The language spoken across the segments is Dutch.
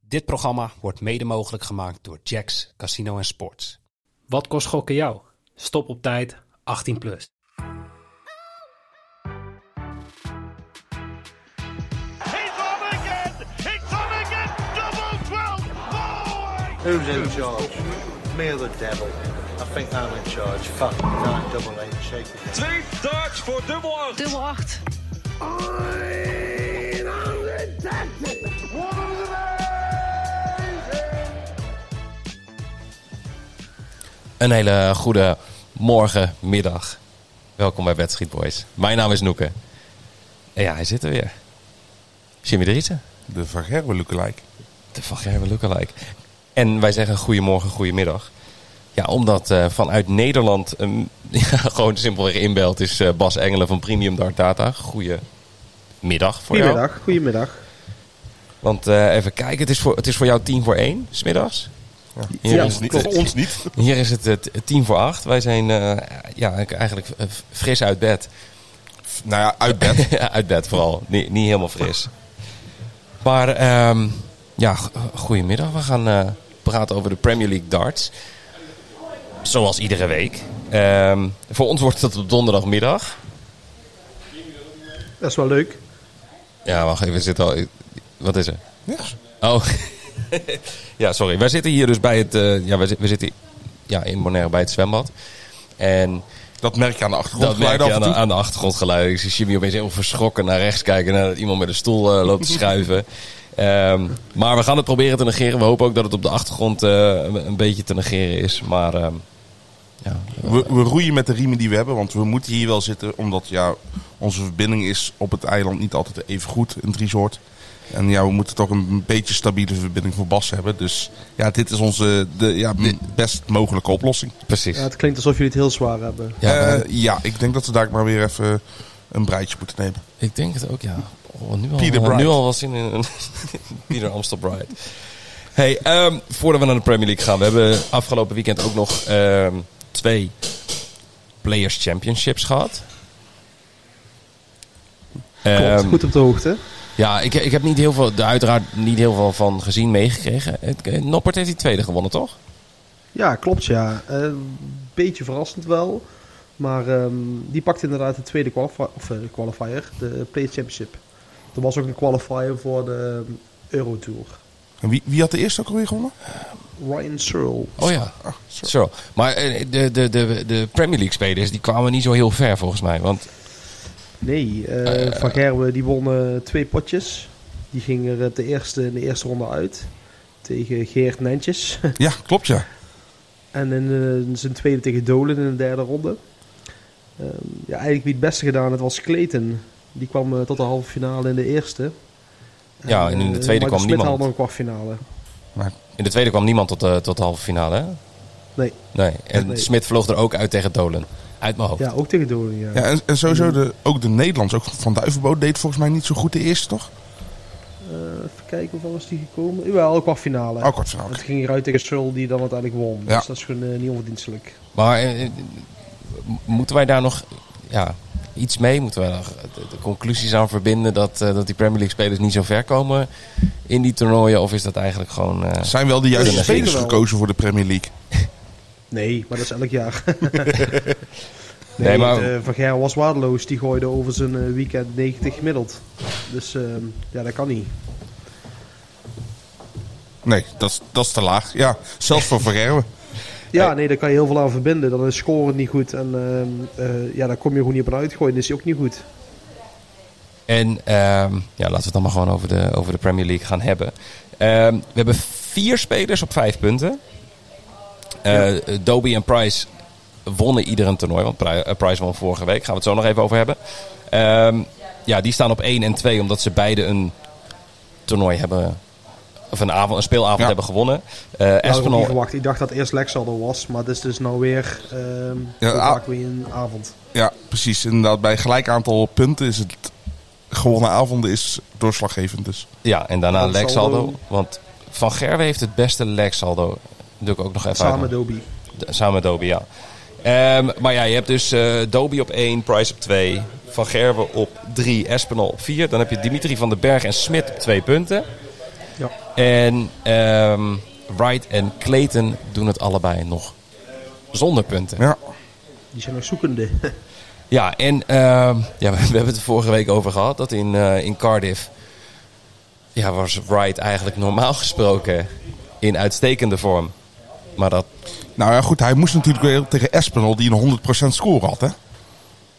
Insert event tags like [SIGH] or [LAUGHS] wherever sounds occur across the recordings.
Dit programma wordt mede mogelijk gemaakt door Jacks Casino en Sports. Wat kost gokken jou? Stop op tijd 18 plus. He's on again! He's on again! Double 12! Oh, Who's in charge? Me or the devil? I think I'm in charge. Fuck, nine double eight, shake it. Twee darts voor dubbel acht. Dubbel 8. Een hele goede morgen, middag. Welkom bij Bad Street Boys. Mijn naam is Noeke. En ja, hij zit er weer. Jimmy Driessen, De Van Gerwen lookalike. de Van Gerwen lookalike. En wij zeggen goedemorgen, goedemiddag. Ja, omdat eh, vanuit Nederland een- [LAUGHS] ja, gewoon simpelweg inbelt is eh, Bas Engelen van Premium Dark Data. Goedemiddag voor jou. Goedemiddag, goedemiddag. Want eh, even kijken, het is, voor, het is voor jou tien voor één, smiddags. Hier Ja, is het- Voor ons niet. Hier is het eh, t- tien voor acht. Wij zijn eh, ja, eigenlijk eh, fris uit bed. Nou ja, uit bed. Ja, [LAUGHS] uit bed vooral. Niet, niet helemaal fris. Maar ehm, ja, go- goedemiddag. We gaan eh, praten over de Premier League darts. Zoals iedere week. Ehm, voor ons wordt dat op donderdagmiddag. Dat is wel leuk. Ja, wacht even. Zit al... Wat is er? Niks. Oh. [LAUGHS] ja, sorry. Wij zitten hier dus bij het... eh, ja, wij zi- we zitten ja, in Bonaire bij het zwembad. En Dat merk je aan de dat merk achtergrond. je af aan en de, toe. aan de achtergrondgeluiden. Ik zie Jimmy opeens heel verschrokken naar rechts kijken... nadat iemand met een stoel eh, [LAUGHS] loopt te schuiven. Ehm, maar we gaan het proberen te negeren. We hopen ook dat het op de achtergrond eh, een, een beetje te negeren is. Maar ehm, ja, We, we roeien met de riemen die we hebben, want we moeten hier wel zitten. Omdat ja, onze verbinding is op het eiland niet altijd even goed in het resort. En ja, we moeten toch een beetje stabiele verbinding voor Bas hebben. Dus ja, dit is onze de, ja, m- best mogelijke oplossing. precies. Ja, het klinkt alsof jullie het heel zwaar hebben. Ja, we Eh, hebben- ja, ik denk dat we daar maar weer even een breitje moeten nemen. Ik denk het ook, ja. Oh, nu, al, Peter Bright. nu al was in een [LAUGHS] Peter Amstel Bright. Hey, ehm, voordat we naar de Premier League gaan, we hebben afgelopen weekend ook nog ehm, twee Players Championships gehad. Klopt, Ehm, goed op de hoogte. ja, ik, ik heb niet heel veel, er uiteraard niet heel veel van gezien, meegekregen. Het- eh, Noppert heeft die tweede gewonnen, toch? Ja, klopt ja. Eh, beetje verrassend wel. Maar ehm, die pakt inderdaad de tweede qualifi- of, eh, qualifier, de Play Championship. Er was ook een qualifier voor de ehm, Eurotour. En wie, wie had de eerste ook alweer gewonnen? Ryan Searle. Oh ja. Ah, Zo. Maar eh, de, de, de, de Premier League spelers die kwamen niet zo heel ver volgens mij. Want Nee, eh, Van Gerwen die won eh, twee potjes. Die ging er eh, de eerste, in de eerste ronde uit. Tegen Geert [LAUGHS] Nentjes. Ja, klopt ja. En in eh, zijn tweede tegen Dolan in de derde ronde. Ehm, ja, eigenlijk wie het beste gedaan had was Clayton. Die kwam eh, tot de halve finale in de eerste. Ja, en in de eh, tweede Michael kwam Smit niemand. haalde een kwartfinale. in de tweede kwam niemand tot de, tot de halve finale, hè? Nee, Nee, en Nee. Smit vloog er ook uit tegen Dolan. Uit mijn hoofd. ja, ook tegen Dolan, ja. Ja, en, en sowieso de, ook de Nederlands, ook Van Duivenboot deed volgens mij niet zo goed de eerste, toch? Eh, even kijken, hoeveel was die gekomen? Jawel, een kwartfinale. Oh, kort verhaal. Het ging eruit tegen Searle die dan uiteindelijk won. Ja. Dus dat is gewoon eh, niet onverdienstelijk. Maar eh, eh, m- moeten wij daar nog ja, iets mee? Moeten wij nog de, de conclusies aan verbinden dat, eh, dat die Premier League spelers niet zo ver komen in die toernooien? Of is dat eigenlijk gewoon. eh, Zijn wel de juiste Ja, spelers zeker wel. gekozen voor de Premier League? Nee, maar dat is elk [LAUGHS] jaar. nee, Nee, maar- eh, Van Gerwen was waardeloos. Die gooide over zijn eh, weekend 90 gemiddeld. Dus ehm, ja, dat kan niet. Nee, dat, is- dat is te laag. Ja, zelfs voor Vergerwe. Ja, Hey. nee, daar kan je heel veel aan verbinden. Dan is scoren niet goed. En ehm, eh, ja, daar kom je gewoon niet op een uitgooien. Dan is die ook niet goed. En ehm, ja, laten we het dan maar gewoon over de, over de Premier League gaan hebben. Ehm, we hebben vier spelers op vijf punten. Eh, Dobie en Price wonnen ieder een toernooi. Want Pri- eh, Price won vorige week. Gaan we het zo nog even over hebben. Ehm, ja, die staan op 1 en 2 omdat ze beide een toernooi hebben. Of een, avond, een speelavond Ja. hebben gewonnen. Eh Ja, dat had Nou, ik ook niet Espinal, verwacht. Ik dacht dat eerst Lexander was. Maar het is dus nou weer ehm Ja, zo ah. vaak weer een avond. Ja, precies. Inderdaad, bij gelijk aantal punten is het gewonnen avonden is doorslaggevend. Dus. ja, en daarna Van Legsaldo. Saldo. Want Van Gerwe heeft het beste Legsaldo. Doe ik ook nog even Samen uitnodigen. met Dobie. D- Samen met Dobie, ja. Ehm, maar ja, je hebt dus eh Dobie op 1, Price op 2, Van Gerwen op 3, Espinal op 4. Dan heb je Dimitri van den Berg en Smit op 2 punten. Ja. En ehm, Wright en Clayton doen het allebei nog zonder punten. Ja. Die zijn nog zoekende. [LAUGHS] Ja, en ehm, ja, [LAUGHS] we, we hebben het er vorige week over gehad. Dat in, eh, in Cardiff ja, was Wright eigenlijk normaal gesproken in uitstekende vorm. Maar dat, Nou ja, goed, hij moest natuurlijk weer tegen Espinol die een 100% score had, hè?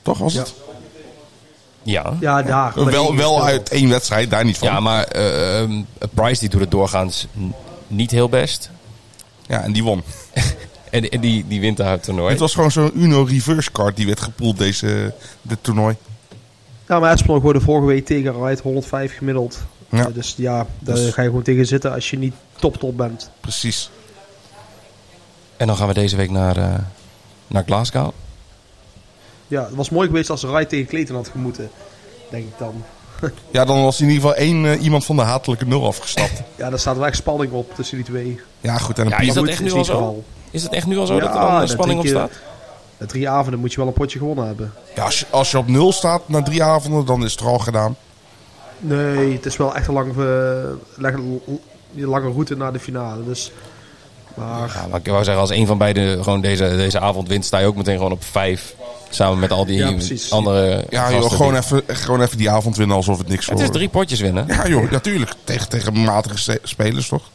Toch was het? ja. ja, daar. maar Wel, die- wel uit één wedstrijd, daar niet van. Ja, Ja, maar eh, ehm, Price die doet het doorgaans n- niet heel best. [LAUGHS] en die won. En, en die, die wint daar het toernooi. Het was gewoon zo'n Uno reverse card die werd gepoeld deze dit toernooi. Ja, maar Espinol gooide vorige week tegen Wright 105 gemiddeld. Ja. Eh, dus ja, daar Dus- ga je gewoon tegen zitten als je niet top top bent. Precies. En dan gaan we deze week naar, eh, naar Glasgow. Ja, het was mooi geweest als Wright tegen Clayton had gemoeten. Denk ik dan. [LAUGHS] Ja, dan was in ieder geval één eh, iemand van de hatelijke nul [LAUGHS] afgestapt. Ja, daar staat wel echt spanning op tussen die twee. ja, goed. En een Ja, pie- is dat goed, echt is nu al niet zo? geval. Is het echt nu al zo dat er Ja, al eh, dat spanning op denk je- staat? De drie avonden moet je wel een potje gewonnen hebben. ja, als, je, als je op nul staat na drie avonden, dan is het er al gedaan. Nee, het is wel echt een lange, eh, lange, lange route naar de finale. Dus, maar Ja, maar ik wou zeggen, als een van beiden gewoon deze, deze avond wint, sta je ook meteen gewoon op vijf. Samen met al die Ja, precies. andere Ja, gasten joh, gewoon, die- even, gewoon even die avond winnen alsof het niks Het was. is drie potjes winnen. Ja, joh, natuurlijk. tegen, tegen matige se- spelers, toch?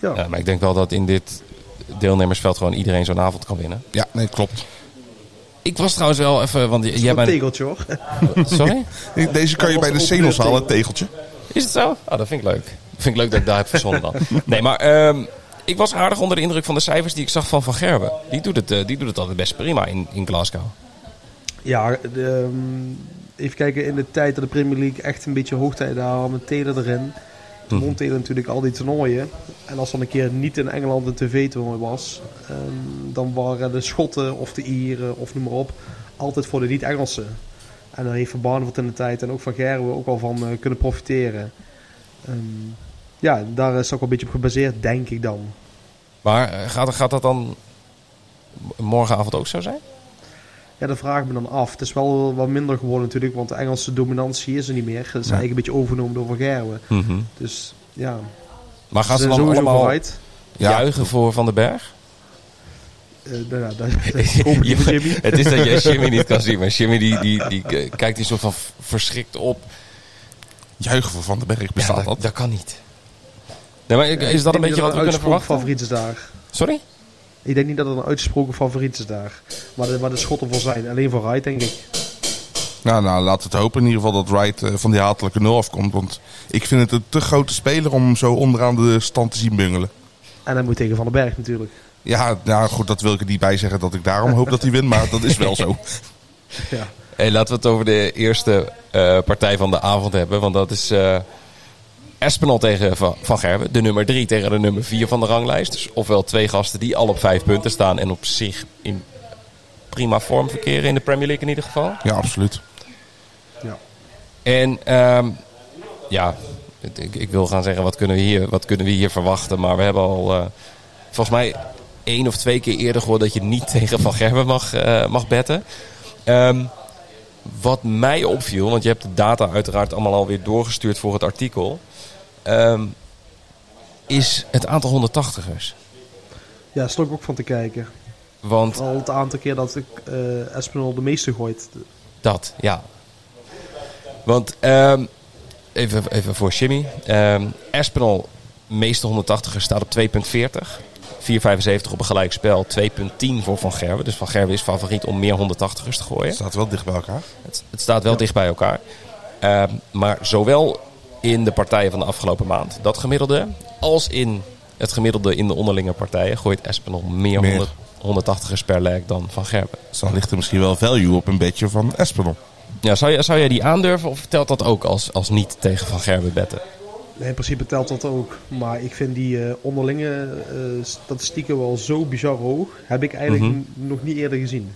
ja. Ja, maar ik denk wel dat in dit deelnemersveld gewoon iedereen zo'n avond kan winnen. Ja, nee, klopt. Ik was trouwens wel even, want j- jij een bent... tegeltje hoor. [LAUGHS] Sorry? Deze kan je bij de was Senos ook- halen, het tegeltje. Is het zo? Oh, dat vind ik leuk. Vind ik leuk dat ik daar heb verzonnen [LAUGHS] dan. Nee, maar ehm, ik was aardig onder de indruk van de cijfers die ik zag van Van Gerben. Die doet het, eh, die doet het altijd best prima in, in Glasgow. Ja, de, ehm, even kijken in de tijd dat de Premier League echt een beetje hoogtijden had met Taylor erin. Toen won Taylor natuurlijk al die toernooien. En als dan een keer niet in Engeland een tv-toernooi was, ehm, dan waren de Schotten of de Ieren of noem maar op altijd voor de niet-Engelsen. En daar heeft Van Barneveld in de tijd en ook Van Gerwen ook al van eh, kunnen profiteren. Ehm, ja, daar is ook wel een beetje op gebaseerd, denk ik dan. Maar eh, gaat, gaat dat dan morgenavond ook zo zijn? Ja, dat vraag ik me dan af. Het is wel wat minder geworden natuurlijk, want de Engelse dominantie is er niet meer. Dat is eigenlijk een beetje overgenomen door Van Gerwen. Dus ja, Maar gaan ze ze zijn dan sowieso allemaal vooruit. juichen voor Van den Berg? Eh nou ja, dat, [LAUGHS] dat [LAUGHS] hoop ik niet voor Jimmy. het is dat jij [LAUGHS] Jimmy niet kan zien, maar Jimmy die, die, die k- kijkt een soort van v- verschrikt op. Juichen voor Van den Berg Ja, bestaat dat, dat. dat kan niet. Nee, maar is dat een beetje wat we kunnen verwachten? favoriet is daar. Sorry? Ik denk niet dat het een uitgesproken favoriet is daar. Maar de, maar de schotten voor zijn. Alleen voor Wright, denk ik. Nou, nou, laten we het hopen in ieder geval dat Wright eh, van die hatelijke nul afkomt. Want ik vind het een te grote speler om hem zo onderaan de stand te zien bungelen. En hij moet tegen Van den Berg natuurlijk. Ja, nou goed, dat wil ik er niet bij zeggen dat ik daarom hoop dat hij wint. Maar dat is wel zo. [LAUGHS] Ja. Hey, laten we het over de eerste eh, partij van de avond hebben. Want dat is eh Espinal tegen Van, Van Gerwen. De nummer drie tegen de nummer vier van de ranglijst. Dus ofwel twee gasten die al op vijf punten staan. En op zich in prima vorm verkeren in de Premier League in ieder geval. Ja, absoluut. ja. En ehm, ja, het- ik, ik wil gaan zeggen wat kunnen, we hier, wat kunnen we hier verwachten. Maar we hebben al eh, volgens mij één of twee keer eerder gehoord dat je niet [LAUGHS] tegen Van Gerwen mag, eh, mag betten. Ehm, wat mij opviel, want je hebt de data uiteraard allemaal alweer doorgestuurd voor het artikel. ehm, is het aantal 180ers. Ja, daar stond ik ook van te kijken. Want Vooral het aantal keer dat ik eh Espinol de meeste gooit. Dat, ja. Want, ehm, even, even voor Jimmy. Ehm Espinal, meeste 180 staat op 2,40. 4,75 op een gelijk spel. 2,10 voor Van Gerwen. Dus Van Gerwen is favoriet om meer 180ers te gooien. Het staat wel dicht bij elkaar. Het, het staat wel dicht bij elkaar. Ehm, maar zowel in de partijen van de afgelopen maand, dat gemiddelde, als in het gemiddelde in de onderlinge partijen, gooit Espinal meer, Meer. 100 180ers per leg dan Van Gerwen. Dus dan ligt er misschien wel value op een bedje van Espinol. Ja, zou, jij- zou jij die aandurven of telt dat ook als, als niet tegen Van Gerben betten? Nee, in principe telt dat ook. Maar ik vind die eh, onderlinge eh, statistieken wel zo bizar hoog. Heb ik eigenlijk n- nog niet eerder gezien.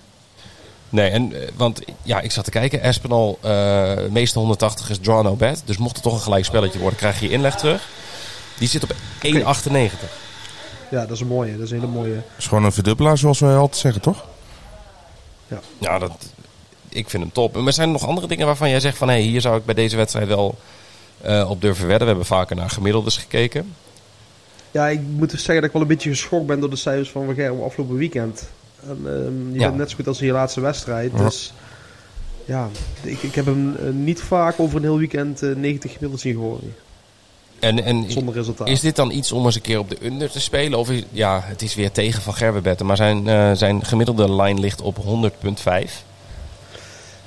Nee, en, eh, want ja, ik zat te kijken. Espinal, eh meeste 180 is draw no bet. Dus mocht het toch een gelijk spelletje worden, krijg je je inleg terug. Die zit op 1,98. Ja, dat is een mooie. Dat is een hele mooie. Dat is gewoon een verdubbelaar, zoals wij altijd zeggen, toch? Ja, dat, ik vind hem top. Maar zijn er nog andere dingen waarvan jij zegt van... hé, hier zou ik bij deze wedstrijd wel eh, op durven wedden. We hebben vaker naar gemiddeldes gekeken. Ja, ik moet dus zeggen dat ik wel een beetje geschokt ben door de cijfers van Van Gerwen afgelopen weekend. En, ehm, je Ja. bent net zo goed als in je laatste wedstrijd. Dus ja, ik, ik heb hem eh, niet vaak over een heel weekend eh, 90 gemiddeld zien gooien. En, en Zonder resultaat. is dit dan iets om eens een keer op de under te spelen? Of is, ja, het is weer tegen Van Gerwebetten, maar zijn, eh, zijn gemiddelde line ligt op 100,5.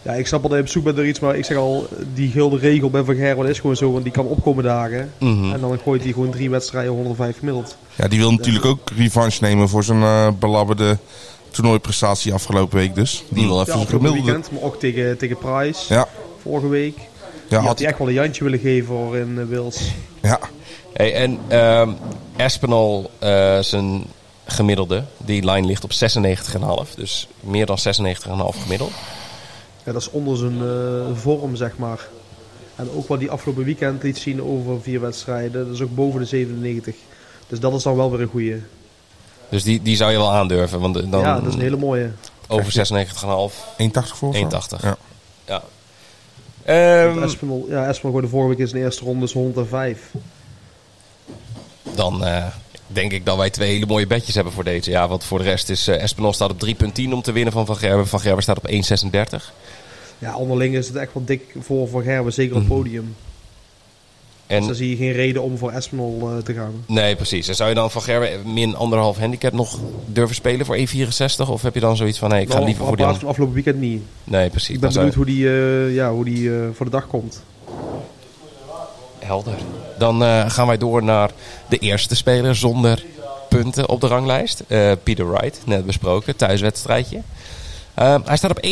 Ja, ik snap al dat je op zoek bent naar iets, maar ik zeg al, die gulden regel bij Van Gerwen is gewoon zo, want die kan opkomen dagen. Mhm. En dan gooit hij gewoon drie wedstrijden 105 gemiddeld. Ja, die wil natuurlijk ook revanche nemen voor zijn eh belabberde toernooiprestatie afgelopen week dus. Die wil Ja, even zijn afgelopen gemiddelde. weekend, maar ook tegen, tegen Price Ja, vorige week. ja, die had had, hij echt wel een jantje willen geven hoor in eh, Wils. ja. Hey, en ehm Espinal, eh, zijn gemiddelde, die line ligt op 96,5. Dus meer dan 96,5 gemiddeld. Ja, dat is onder zijn eh, vorm, zeg maar. En ook wat hij afgelopen weekend liet zien over vier wedstrijden, dat is ook boven de 97. Dus dat is dan wel weer een goeie. Dus die, die zou je wel aandurven, want dan Ja, dat is een hele mooie. over 96,5. 1,80 voor. of zo? 1,80. Ja. Ja. Ehm, Espinol, ja, Espinol gooide vorige week in zijn eerste ronde is 105. dan eh, denk ik dat wij twee hele mooie bedjes hebben voor deze. Ja, want voor de rest is eh Espinal staat op 3,10 om te winnen van Van Gerwen. Van Gerwen staat op 1,36. Ja, onderling is het echt wel dik voor Van Gerwen, zeker op Mhm. het podium. Dus daar En zie je geen reden om voor Espinol eh, te gaan. nee, precies. En zou je dan Van Gerwen min anderhalf handicap nog durven spelen voor 1,64? Of heb je dan zoiets van, nee, ik ga Nou, liever op voor die basis andere... van afgelopen weekend niet. Nee, precies. Ik Dan ben zou je- benieuwd hoe die, eh, ja, hoe die eh, voor de dag komt. Helder. Dan eh, gaan wij door naar de eerste speler zonder punten op de ranglijst. Eh, Peter Wright, net besproken, thuiswedstrijdje. Eh, hij staat op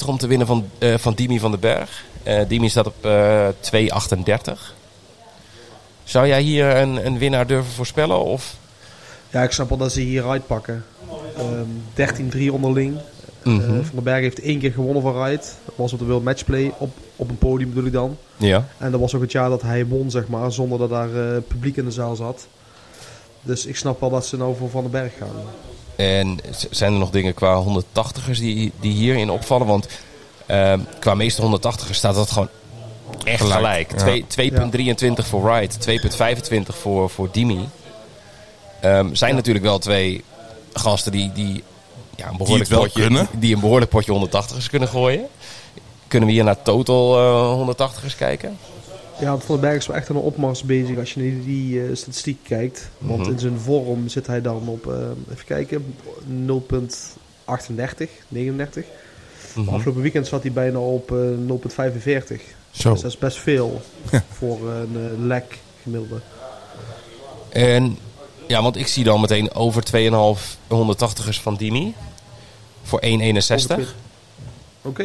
1,58 om te winnen van, eh, van Dimi van den Berg. Eh, Dimi staat op eh 2,38. Zou jij hier een, een winnaar durven voorspellen? Of? Ja, ik snap wel dat ze hier uitpakken. Ehm 13-3 onderling. Mhm. Eh, van den Berg heeft één keer gewonnen van Wright. Dat was op de World Matchplay, op, op een podium bedoel ik dan. Ja. En dat was ook het jaar dat hij won, zeg maar, zonder dat daar eh, publiek in de zaal zat. Dus ik snap wel dat ze nou voor Van den Berg gaan. En z- zijn er nog dingen qua 180ers die, die hierin opvallen? Want ehm, qua meeste 180ers staat dat gewoon echt gelijk. ja. Twee- 2,23 voor Wright, 2,25 voor, voor Dimi. Ehm zijn natuurlijk wel twee gasten die, die, ja, een, behoorlijk wel potje, kunnen. Die, die een behoorlijk potje 180ers kunnen gooien. Kunnen we hier naar total eh 180ers kijken? Ja, want Van den Berg is wel echt aan een opmars bezig als je naar die eh, statistiek kijkt. Want in zijn vorm zit hij dan op, eh, even kijken, 0,38, 39. Maar Afgelopen weekend zat hij bijna op eh 0,45. Zo. Dus dat is best veel voor een eh, lek gemiddelde. En ja, want ik zie dan meteen over 2,5 180ers van Dimi. Voor 1,61. Ongeveer. Oké.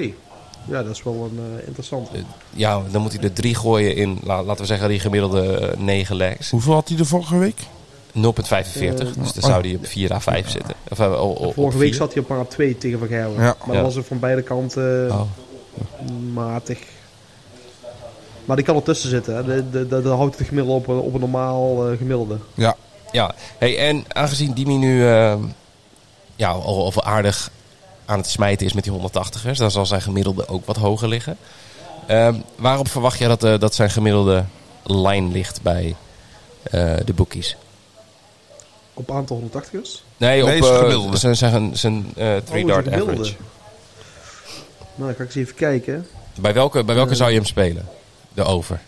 Ja, dat is wel een eh, interessant. Ja, dan moet hij er drie gooien in, la- laten we zeggen, die gemiddelde eh, negen legs. 0,45. Hoeveel had hij de vorige week? dus dan zou hij op 4 à 5 zitten. Of, eh, o- o- op Eh, oh. Vorige week vier. zat hij op parap 2 tegen Van Gerwen. Ja. Maar Ja. dat was ook van beide kanten Oh. matig. Maar die kan ertussen zitten. hè. De- de- de- Dat houdt het gemiddelde op, een- op een normaal eh, gemiddelde. Ja. Ja, hey, en aangezien Dimi nu eh, ja, al, al wel aardig aan het smijten is met die 180ers, dan zal zijn gemiddelde ook wat hoger liggen. Ehm, waarop verwacht jij dat, eh, dat zijn gemiddelde lijn ligt bij eh, de bookies? Op aantal 180ers. Nee, op Nee, zijn eh, gemiddelde. zijn, zijn, zijn eh, three Oh, dart de gemiddelde. average. Nou, dan ga ik eens even kijken. Bij welke, bij Eh. welke zou je hem spelen? De over.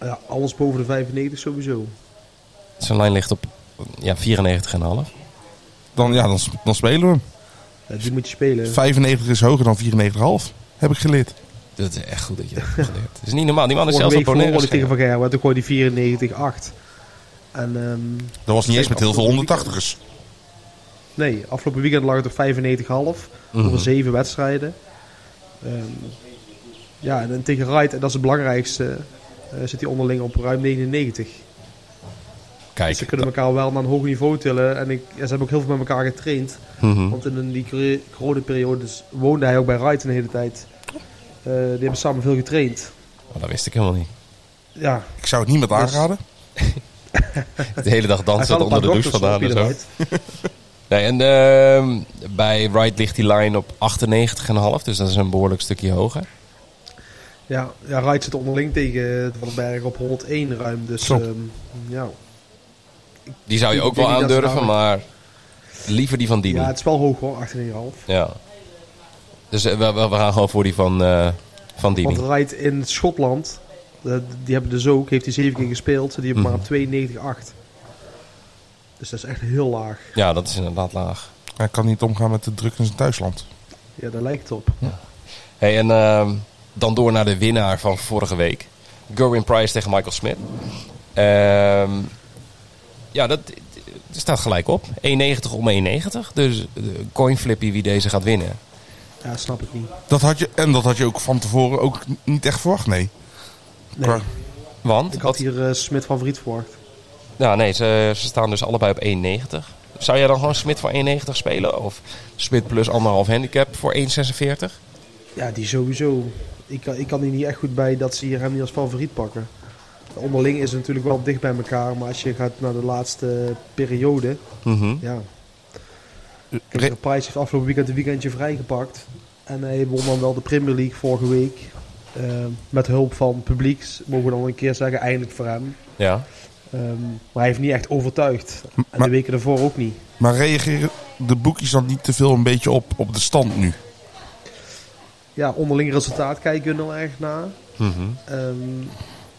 Ja, alles boven de 95 sowieso. Zijn lijn ligt op ja, 94,5. Dan, ja, dan, dan spelen we hem. Ja, die moet je spelen. 95 is hoger dan 94,5. Heb ik geleerd. Dat is echt goed dat je dat hebt geleerd. Dat is niet normaal. Die man is Vorige zelfs week op verloren Bonaire die tegen gegaan. Van Gerwen. Toen gooide hij 94-8. En ehm, Dat was niet eens met heel veel Afgelopen 180ers. Nee, afgelopen weekend lag het op 95,5. Mhm. Over zeven wedstrijden. Ehm, ja, en dan tegen Wright, en dat is het belangrijkste, eh, zit hij onderling op ruim 99. Dus ze Kijk, kunnen elkaar wel naar een hoog niveau tillen. En ik, ja, ze hebben ook heel veel met elkaar getraind. Mhm. Want in die cor- coronaperiodes woonde hij ook bij Wright een hele tijd. Eh, die hebben samen veel getraind. oh, dat wist ik helemaal niet. Ja, Ik zou het niemand aanraden. De hele dag hij dansen zal een paar onder de douche dokters op vandaan en ieder zo. Wright. Nee, en ehm, bij Wright ligt die line op 98,5. Dus dat is een behoorlijk stukje hoger. Ja, ja Wright zit onderling tegen Van den Berg op 101 ruim. Dus Klopt. ehm, ja. Die zou je Ik ook denk wel niet dat ze aandurven, nou- maar liever die van Dini. ja, Ja. het is wel hoog hoor, 18,5. Dus eh, we, we, we gaan gewoon voor die van, eh van Dini. Want Wright in Schotland, eh, die hebben dus ook, heeft hij 7 keer gespeeld. Die hebben maar 92,8. Dus dat is echt heel laag. Ja, dat is inderdaad laag. Hij kan niet omgaan met de druk in zijn thuisland. Ja, daar lijkt het op. Hey, en ehm, dan door naar de winnaar van vorige week. Gerwin Price tegen Michael Smith. Ehm, ja, dat eh, staat gelijk op. 1,90 om 1,90. Dus eh, coin flippy wie deze gaat winnen. Ja, snap ik niet. Dat had je, en dat had je ook van tevoren ook n- niet echt verwacht, nee. Nee. Qua- Want, wat, Ik had hier eh, Smit van Vriet verwacht. nou, nee, ze, ze staan dus allebei op 1,90. Zou jij dan gewoon Smith voor 1,90 spelen? Of Smith plus anderhalf handicap voor 1,46? Ja, die sowieso. Ik, kan- ik kan hier niet echt goed bij dat ze hier hem niet als favoriet pakken. Onderling is het natuurlijk wel dicht bij elkaar, maar als je gaat naar de laatste periode, Mhm. ja. Kijk, Re- de prijs heeft afgelopen weekend een weekendje vrijgepakt. En hij won dan wel de Premier League vorige week. Ehm, met hulp van publiek, mogen we dan een keer zeggen, eindelijk voor hem. Ja. Ehm, maar hij heeft niet echt overtuigd. En maar- de weken daarvoor ook niet. Maar reageren de boekjes dan niet te veel een beetje op, op de stand nu? ja, onderling resultaat kijken we er erg naar. Mhm. Ehm,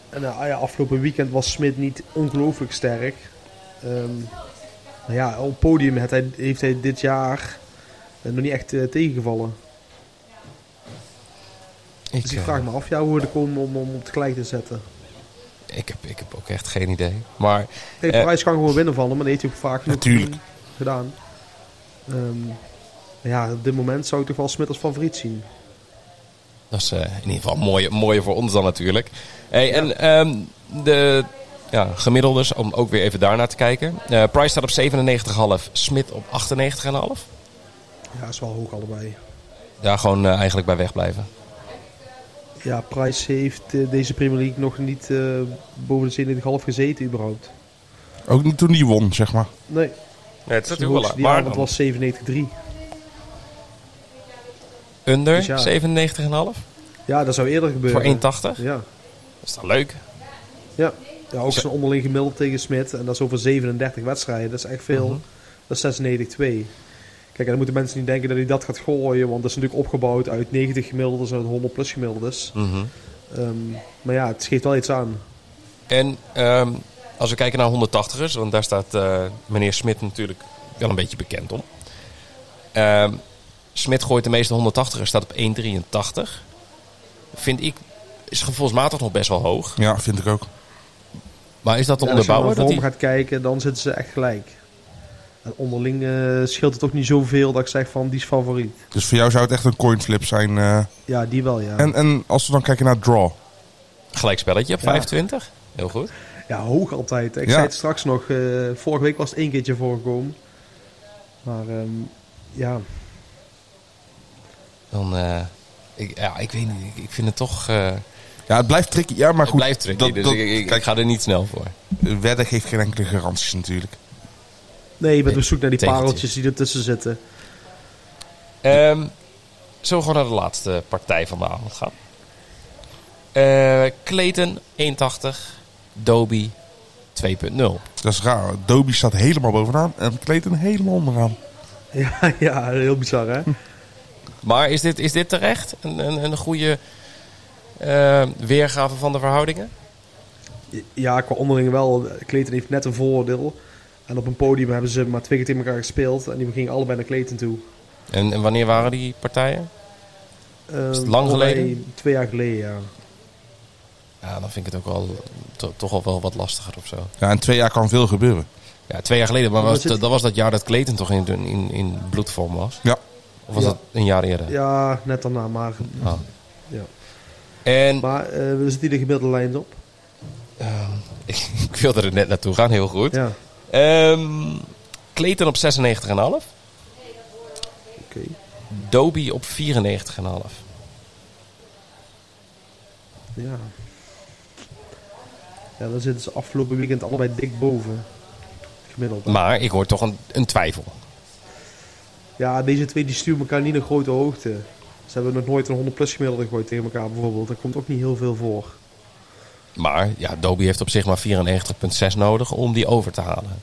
en nou ja, afgelopen weekend was Smit niet ongelooflijk sterk. Ehm, nou ja, op podium heeft hij, heeft hij dit jaar eh, nog niet echt eh, tegengevallen. Ik, Dus ik eh, vraag me af, ja, hoe we er komen om, om op gelijk te zetten. ik, heb, ik heb ook echt geen idee. Maar Kijk, Eh. Prijs kan gewoon winnen van hem, maar dat heeft hij ook vaak genoeg Natuurlijk. gedaan. Ehm, ja, op dit moment zou ik toch wel Smit als favoriet zien. Dat is eh, in ieder geval mooier, mooier voor ons dan natuurlijk. Hey, En ehm, de ja, gemiddeldes, om ook weer even daarnaar te kijken. Eh, Price staat op 97,5, Smit op 98,5. Ja, is wel hoog allebei. Daar gewoon eh, eigenlijk bij wegblijven. Ja, Price heeft eh, deze Premier League nog niet eh, boven de 97,5 gezeten überhaupt. Ook niet toen die won, zeg maar. Nee, Nee, het is de hoogste die avond was 97,3. Under Dus ja. 97,5 Ja, dat zou eerder voor 1,80. gebeuren. Ja, Dat is toch leuk? ja. ja ook zijn onderling gemiddeld tegen Smit. En dat is over 37 wedstrijden. Dat is echt veel. Dat is 96,2. Kijk, en dan moeten mensen niet denken dat hij dat gaat gooien. Want dat is natuurlijk opgebouwd uit 90 gemiddeldes en uit 100 plus gemiddeldes. Ehm, maar ja, het geeft wel iets aan. En ehm, als we kijken naar 180ers, want daar staat eh, meneer Smit natuurlijk wel een beetje bekend om. Ehm Smit gooit de meeste 180ers, staat op 1,83. Vind ik, is gevoelsmatig nog best wel hoog. Ja, vind ik ook. Maar is dat te Ja, als je naar onderbouwen? de Dat vorm die... gaat kijken, dan zitten ze echt gelijk. En onderling eh, scheelt het ook niet zoveel dat ik zeg van die is favoriet. Dus voor jou zou het echt een coinflip zijn. eh. Ja, die wel, ja. en, en als we dan kijken naar draw. Gelijk spelletje op Ja. 25. Heel goed. Ja, hoog altijd. Ik Ja. zei het straks nog. eh, vorige week was het één keertje voorgekomen. Maar ehm, ja, Dan, eh, ik, ja, ik weet niet. Ik- Ik vind het toch... eh Ja, het blijft tricky. Ja, maar het goed. blijft tricky, dat- dus dat- ik, ik, ik kijk, ga er niet snel voor. wedden geeft geen enkele garanties natuurlijk. nee, je bent op zoek naar die tegeltjes. pareltjes die ertussen zitten. [LAUGHS] Ehm zullen we gewoon naar de laatste partij van de avond gaan? Eh Clayton 1,80. Dobie 2,0. Dat is raar. Dobie staat helemaal bovenaan en Clayton helemaal onderaan. Ja, ja, heel bizar hè. Maar is dit, is dit terecht? Een, een, een goede eh, weergave van de verhoudingen? Ja, qua onderling wel. Clayton heeft net een voordeel. En op een podium hebben ze maar twee keer tegen elkaar gespeeld. En die gingen allebei naar Clayton toe. En, en wanneer waren die partijen? Ehm, het lang allebei geleden? Twee jaar geleden, ja. Ja, dan vind ik het ook wel, to- toch al wel wat lastiger of zo. Ja, in twee jaar kan veel gebeuren. Ja, twee jaar geleden. Maar Maar was, zit- dat, dat was dat jaar dat Clayton toch in, in, in bloedvorm was? Ja. Of was Ja. dat een jaar eerder? Ja, net daarna. Maar, Ah. Ja. En [LAUGHS] maar eh, we zitten hier de gemiddelde lijn op. ik, ik wilde er net naartoe gaan, heel goed. Ja, Ehm Clayton op 96,5. oké. Dobie op 94,5. Ja. Ja, dan zitten ze afgelopen weekend allebei dik boven. Gemiddeld. Maar ik hoor toch een, een twijfel. Ja, deze twee die sturen elkaar niet naar grote hoogte. Ze Ze hebben nog nooit een 100-plus gemiddelde gegooid tegen elkaar bijvoorbeeld. Daar komt ook niet heel veel voor. Maar ja, Doby heeft op zich maar 94,6 nodig om die over te halen.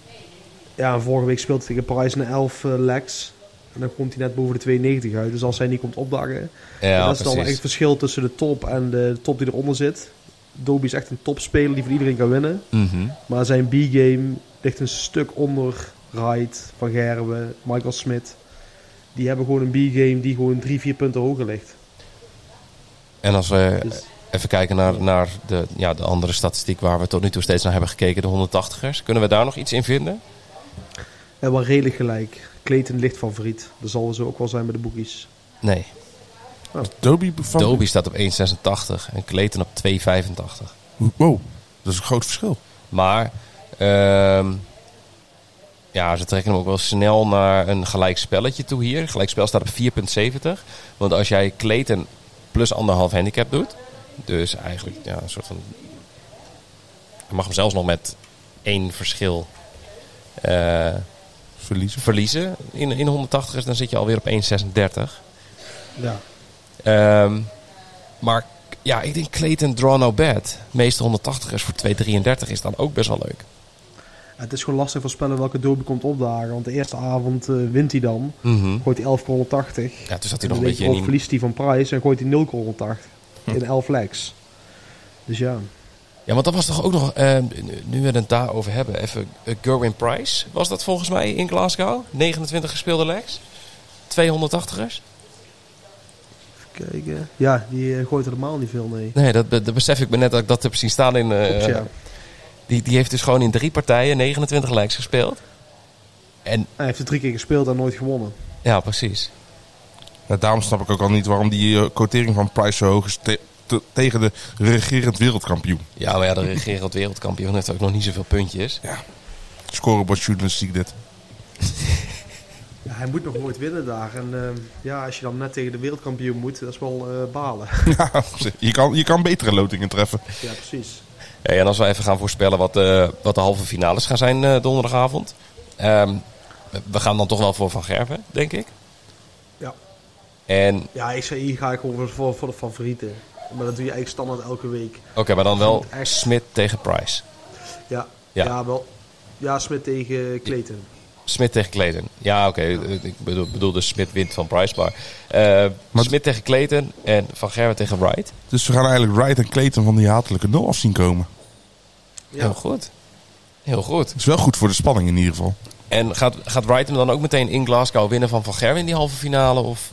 Ja, en vorige week speelde hij tegen Price een 11 eh, legs. En dan komt hij net boven de 92 uit. Dus als hij niet komt opdagen. en Ja, dat is dan echt precies. het verschil tussen de top en de top die eronder zit. Doby is echt een topspeler die voor iedereen kan winnen. Mhm. Maar zijn B-game ligt een stuk onder Wright, Van Gerwen, Michael Smit. Die hebben gewoon een B-game die gewoon drie, vier punten hoger ligt. En als we Dus- even kijken naar, naar de, ja, de andere statistiek waar we tot nu toe steeds naar hebben gekeken, de 180ers. Kunnen we daar nog iets in vinden? En wel redelijk gelijk. Clayton ligt favoriet. Dat zal zo ook wel zijn bij de boekies. Nee. Dobie Oh. van... Doby staat op 1,86 en Clayton op 2,85. Wow, dat is een groot verschil. Maar ehm, ja, ze trekken hem ook wel snel naar een gelijk spelletje toe hier. Gelijkspel staat op 4,70. Want als jij Clayton plus anderhalf handicap doet, dus eigenlijk ja, een soort van. Je mag hem zelfs nog met één verschil eh, Verliezen. verliezen in, in 180 is, dan zit je alweer op 1,36. Ja. Ehm, maar k- ja, ik denk Clayton draw no bad. De meeste 180ers voor 2,33 is dan ook best wel leuk. Het is gewoon lastig voorspellen welke Doby komt opdagen. Want de eerste avond eh, wint hij dan. Gooit hij 11 per 80. Mhm. Ja, toen zat hij nog En dan een weet beetje je ook in die... verliest hij van Price en gooit hij 0 per 80. In 11 legs. Dus ja. Ja, want dat was toch ook nog, ehm, nu we het daarover hebben, even eh, Gerwin Price. Was dat volgens mij in Glasgow? 29 gespeelde legs? 280ers? Even kijken. Ja, die eh, gooit helemaal niet veel, nee. Nee, dat, be- dat besef ik me net dat ik dat heb zien staan in... eh, Klopt, ja. die, die heeft dus gewoon in drie partijen 29 legs gespeeld. En Hij heeft er drie keer gespeeld en nooit gewonnen. ja, precies. Ja, daarom snap ik ook al niet waarom die eh, quotering van Price zo hoog is te- te- tegen de regerend wereldkampioen. Ja, maar ja, de regerend wereldkampioen heeft ook nog niet zoveel puntjes. Scorebordjournalistiek dit. [LAUGHS] Ja, hij moet nog nooit winnen daar. En ehm, ja, als je dan net tegen de wereldkampioen moet, dat is wel eh, [LAUGHS] balen. Ja, je, kan, je kan betere lotingen treffen. ja, precies. Hey, en als we even gaan voorspellen wat, eh, wat de halve finales gaan zijn eh, donderdagavond. Ehm, we gaan dan toch wel voor Van Gerven, denk ik. Ja. En Ja, ik zei, hier ga ik gewoon voor, voor de favorieten. Maar dat doe je eigenlijk standaard elke week. oké, maar dan wel Ik vind het echt- Smit tegen Price. Ja, Ja. ja. wel. Ja, Smit tegen Clayton. Smit tegen Clayton. Ja, oké. eh, Ik bedoel, bedoel dus Smit wint van Price, maar... eh, Smit tegen Clayton en Van Gerwen tegen Wright. Dus we gaan eigenlijk Wright en Clayton van die hatelijke nul af zien komen. Ja. Heel goed. Heel goed. Dat is wel goed voor de spanning in ieder geval. En gaat, gaat Wright hem dan ook meteen in Glasgow winnen van Van Gerwen in die halve finale? Of...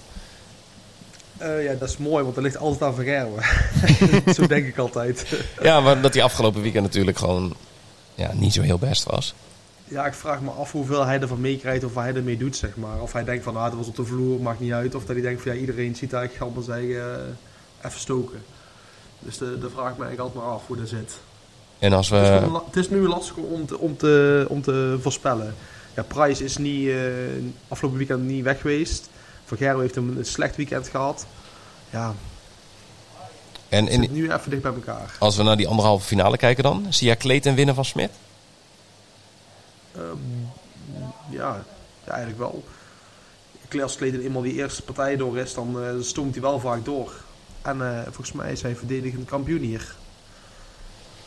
Eh, ja, dat is mooi, want er ligt altijd aan vergermen. [LAUGHS] Zo denk ik altijd. Ja, maar dat hij afgelopen weekend natuurlijk gewoon ja, niet zo heel best was. Ja, ik vraag me af hoeveel hij ervan meekrijgt of waar hij ermee doet, zeg maar. Of hij denkt van, ah, dat was op de vloer, maakt niet uit. Of dat hij denkt van, ja, iedereen ziet eigenlijk ik ga maar zeggen, eh, even stoken. Dus de- daar vraag ik me eigenlijk altijd maar af hoe dat zit. En als Het is we... gewoon la- het is nu lastig om te, om te, om te voorspellen. Ja, Price is niet, eh, afgelopen weekend niet weg geweest. Van Gerwen heeft een een slecht weekend gehad. Ja, En het zit in, nu even dicht bij elkaar. als we naar die anderhalve finale kijken dan, zie jij Clayton winnen van Smit? Ja, ja eigenlijk wel. Als Kleden eenmaal die eerste partij door is, dan eh, stoomt hij wel vaak door. En eh, volgens mij is hij verdedigend kampioen hier.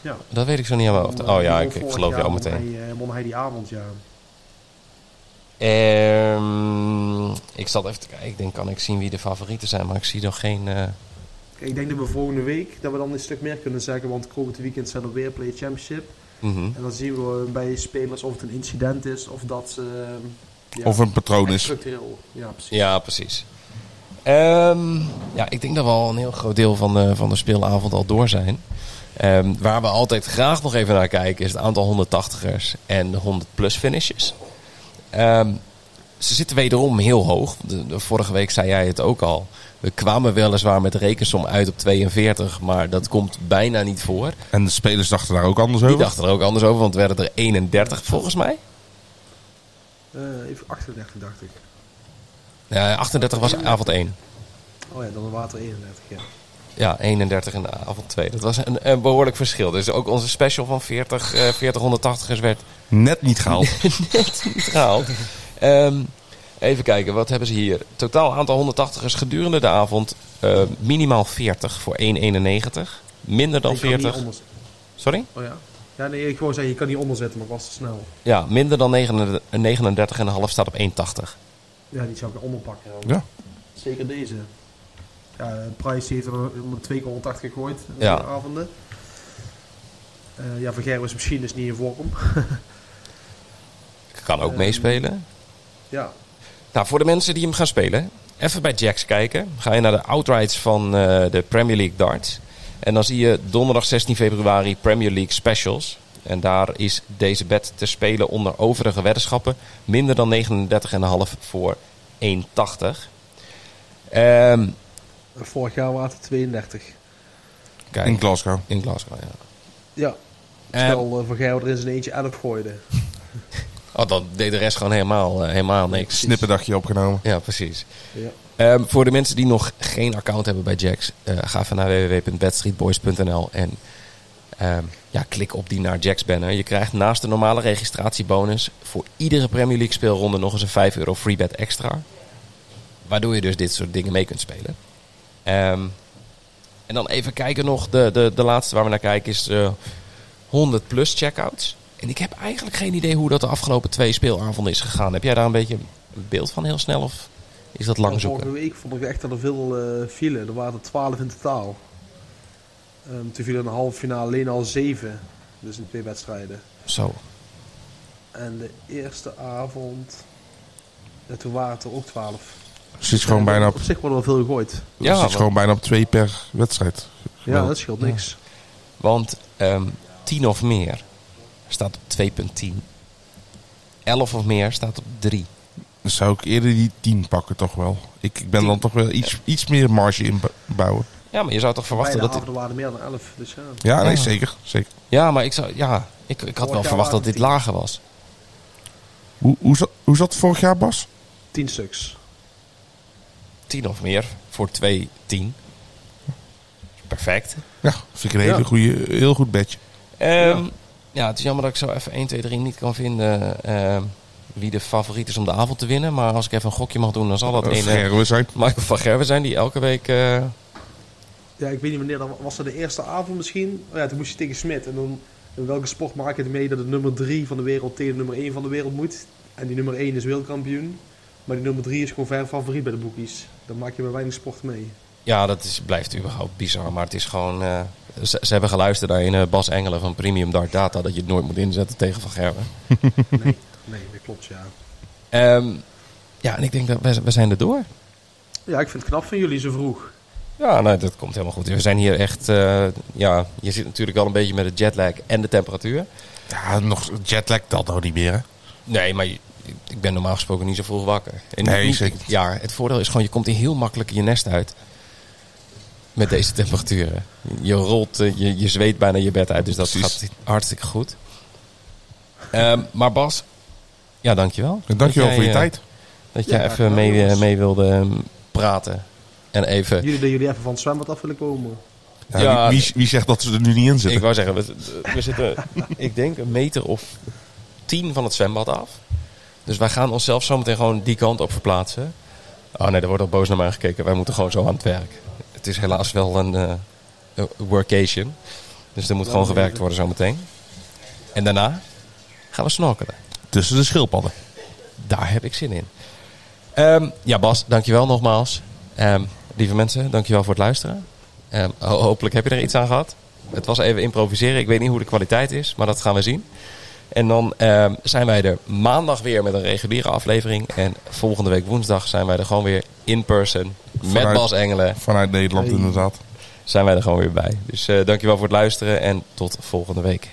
Ja. Dat weet ik zo niet helemaal. Dan, eh, oh ja, die ik, ik won geloof vorig jou jaar, won meteen. Hij, eh, won hij die avond, ja. Ehm, ik zat even te kijken. Ik denk, kan ik zien wie de favorieten zijn? Maar ik zie nog geen... eh, Ik denk dat we volgende week dat we dan een stuk meer kunnen zeggen, want komend weekend zijn er weer Play Championship. mhm. En dan zien we bij spelers of het een incident is of dat ze. eh, ja, Of een patroon is. structureel. Ja, precies. Ja, precies. Ehm, ja, ik denk dat we al een heel groot deel van de, van de speelavond al door zijn. Ehm, waar we altijd graag nog even naar kijken is het aantal 180ers en de 100-plus finishes. Ehm, ze zitten wederom heel hoog. De, de vorige week zei jij het ook al. We kwamen weliswaar met rekensom uit op 42, maar dat komt bijna niet voor. En de spelers dachten daar ook anders over. Die dachten er ook anders over, want het werden er 31 volgens mij. Eh, even 38 dacht ik. Ja, 38 was avond 1. Oh ja, dan water 31, ja. Ja, 31 en avond 2. Dat was een, een behoorlijk verschil. Dus ook onze special van 40, eh 40 180ers werd Net niet gehaald. [LAUGHS] niet gehaald. Ehm, Even kijken, wat hebben ze hier? Totaal aantal 180ers gedurende de avond. eh, minimaal 40 voor 1,91. Minder dan Ik kan niet 40. anders- Sorry? Oh ja. Ja, nee, ik wou zeggen, je kan niet onderzetten, maar ik was te snel. Ja, minder dan 39 39,5 staat op 1,80. Ja, die zou ik onderpakken. dan. Ja. Zeker deze. Ja, Price heeft er om twee keer 180 gegooid in Ja. de avonden. Eh, ja, Vergeer was misschien dus niet in vorm. [LAUGHS] Kan ook Ehm. meespelen. Ja. Nou, voor de mensen die hem gaan spelen, even bij Jacks kijken. Ga je naar de outrights van eh, de Premier League darts. En dan zie je donderdag 16 februari Premier League specials. En daar is deze bet te spelen onder overige weddenschappen. Minder dan 39,5 voor 1,80. Ehm Vorig jaar waren het 32. kijk, In Glasgow. in Glasgow, ja. Ja. Ehm, Terwijl eh, Van Gerwen er in zijn eentje 11 gooide. oh, dan deed de rest gewoon helemaal, eh, helemaal niks. Snippendagje opgenomen. Ja, precies. Ja. Ehm, voor de mensen die nog geen account hebben bij Jax, eh, ga even naar www.bedstreetboys.nl en ehm, ja, klik op die naar Jax banner. Je krijgt naast de normale registratiebonus voor iedere Premier League speelronde nog eens een 5 euro free bet extra. Waardoor je dus dit soort dingen mee kunt spelen. Ehm, en dan even kijken nog, de, de, de laatste waar we naar kijken is eh, 100 plus checkouts. En ik heb eigenlijk geen idee hoe dat de afgelopen twee speelavonden is gegaan. Heb jij daar een beetje een beeld van heel snel of is dat lang zoeken? Vorige week vond ik echt dat er veel eh vielen. Er waren er 12 in totaal. Ehm toen vielen in de halve finale alleen al 7. Dus in twee wedstrijden. Zo. En de eerste avond. Ja, toen waren het er ook 12. Er zit gewoon bijna op, Op zich worden er wel veel gegooid. Ja, er zit want- gewoon bijna op twee per wedstrijd. Ja, dat scheelt niks. Want ehm 10 of meer staat op 2.10. 11 of meer staat op 3. Dan zou ik eerder die 10 pakken toch wel. Ik, ik ben dan toch wel iets, iets meer marge inbouwen. Ja, maar je zou toch verwachten Beide dat... avonden waren er meer dan 11. Dus ja. Ja, nee, Ja. zeker. zeker. Ja, maar ik, zou, ja, ik, ik had wel jaar verwacht dat waren dit tien. lager was. Hoe, hoe, zat, hoe zat het vorig jaar, Bas? 10 stuks. 10 of meer voor 2.10. Perfect. Ja, vind ik een hele Ja. goede, heel goed bedje. Ehm, ja. het is jammer dat ik zo even 1, 2, 3 niet kan vinden ehm, wie de favoriet is om de avond te winnen. Maar als ik even een gokje mag doen, dan zal dat Dat een eh, Gerwen zijn. Michael van Gerwen zijn die elke week... eh, Ja, ik weet niet wanneer. Dat was dat de eerste avond misschien? Oh ja, toen moest je tegen Smit. En dan in welke sport maak je het mee dat de nummer 3 van de wereld tegen de nummer 1 van de wereld moet? En die nummer 1 is wereldkampioen. Maar die nummer 3 is gewoon ver favoriet bij de boekies. Dan maak je bij weinig sport mee. Ja, dat is, blijft überhaupt bizar. Maar het is gewoon. eh, ze, ze hebben geluisterd naar een eh, Bas Engelen van Premium Dark Data. dat je het nooit moet inzetten tegen Van Gerwen. Nee, nee dat klopt ja. Ehm, ja, en ik denk dat we, we zijn er door. Ja, ik vind het knap van jullie zo vroeg. Ja, nou, dat komt helemaal goed. We zijn hier echt. eh, ja, je zit natuurlijk wel een beetje met de jetlag en de temperatuur. Ja, nog jetlag dat nou niet meer. Hè? Nee, maar je- ik ben normaal gesproken niet zo vroeg wakker. En Nee, niet- zeker niet. Ja, het voordeel is gewoon, je komt hier heel makkelijk je nest uit. Met deze temperaturen. Je rolt, eh, je, je zweet bijna je bed uit. Dus dat Precies. gaat hartstikke goed. Ehm, maar Bas, ja, dankjewel. En dankjewel Dat voor je jij, eh, tijd. Dat jij Ja, graag even gedaan, mee, eh, jongens. mee wilde ehm, praten. En even... Jullie dat jullie even van het zwembad af willen komen. Ja, ja, wie, wie- wie zegt dat ze er nu niet in Ik zitten? wou zeggen, we, we zitten, ik denk, een meter of tien van het zwembad af. Dus wij gaan onszelf zometeen gewoon die kant op verplaatsen. Oh nee, er wordt al boos naar mij gekeken. Wij moeten gewoon zo aan het werk. Het is helaas wel een eh, een workation. Dus er moet gewoon gewerkt worden zometeen. En daarna gaan we snorkelen. Tussen de schildpadden. Daar heb ik zin in. Ehm, ja, Bas, dankjewel nogmaals. Ehm, lieve mensen, dankjewel voor het luisteren. Ehm, ho- hopelijk heb je er iets aan gehad. Het was even improviseren. Ik weet niet hoe de kwaliteit is, maar dat gaan we zien. En dan ehm, zijn wij er maandag weer met een reguliere aflevering. En volgende week woensdag zijn wij er gewoon weer in person. Met Vanuit- Bas Engelen Vanuit Nederland inderdaad. zijn wij er gewoon weer bij. Dus eh, dankjewel voor het luisteren en tot volgende week.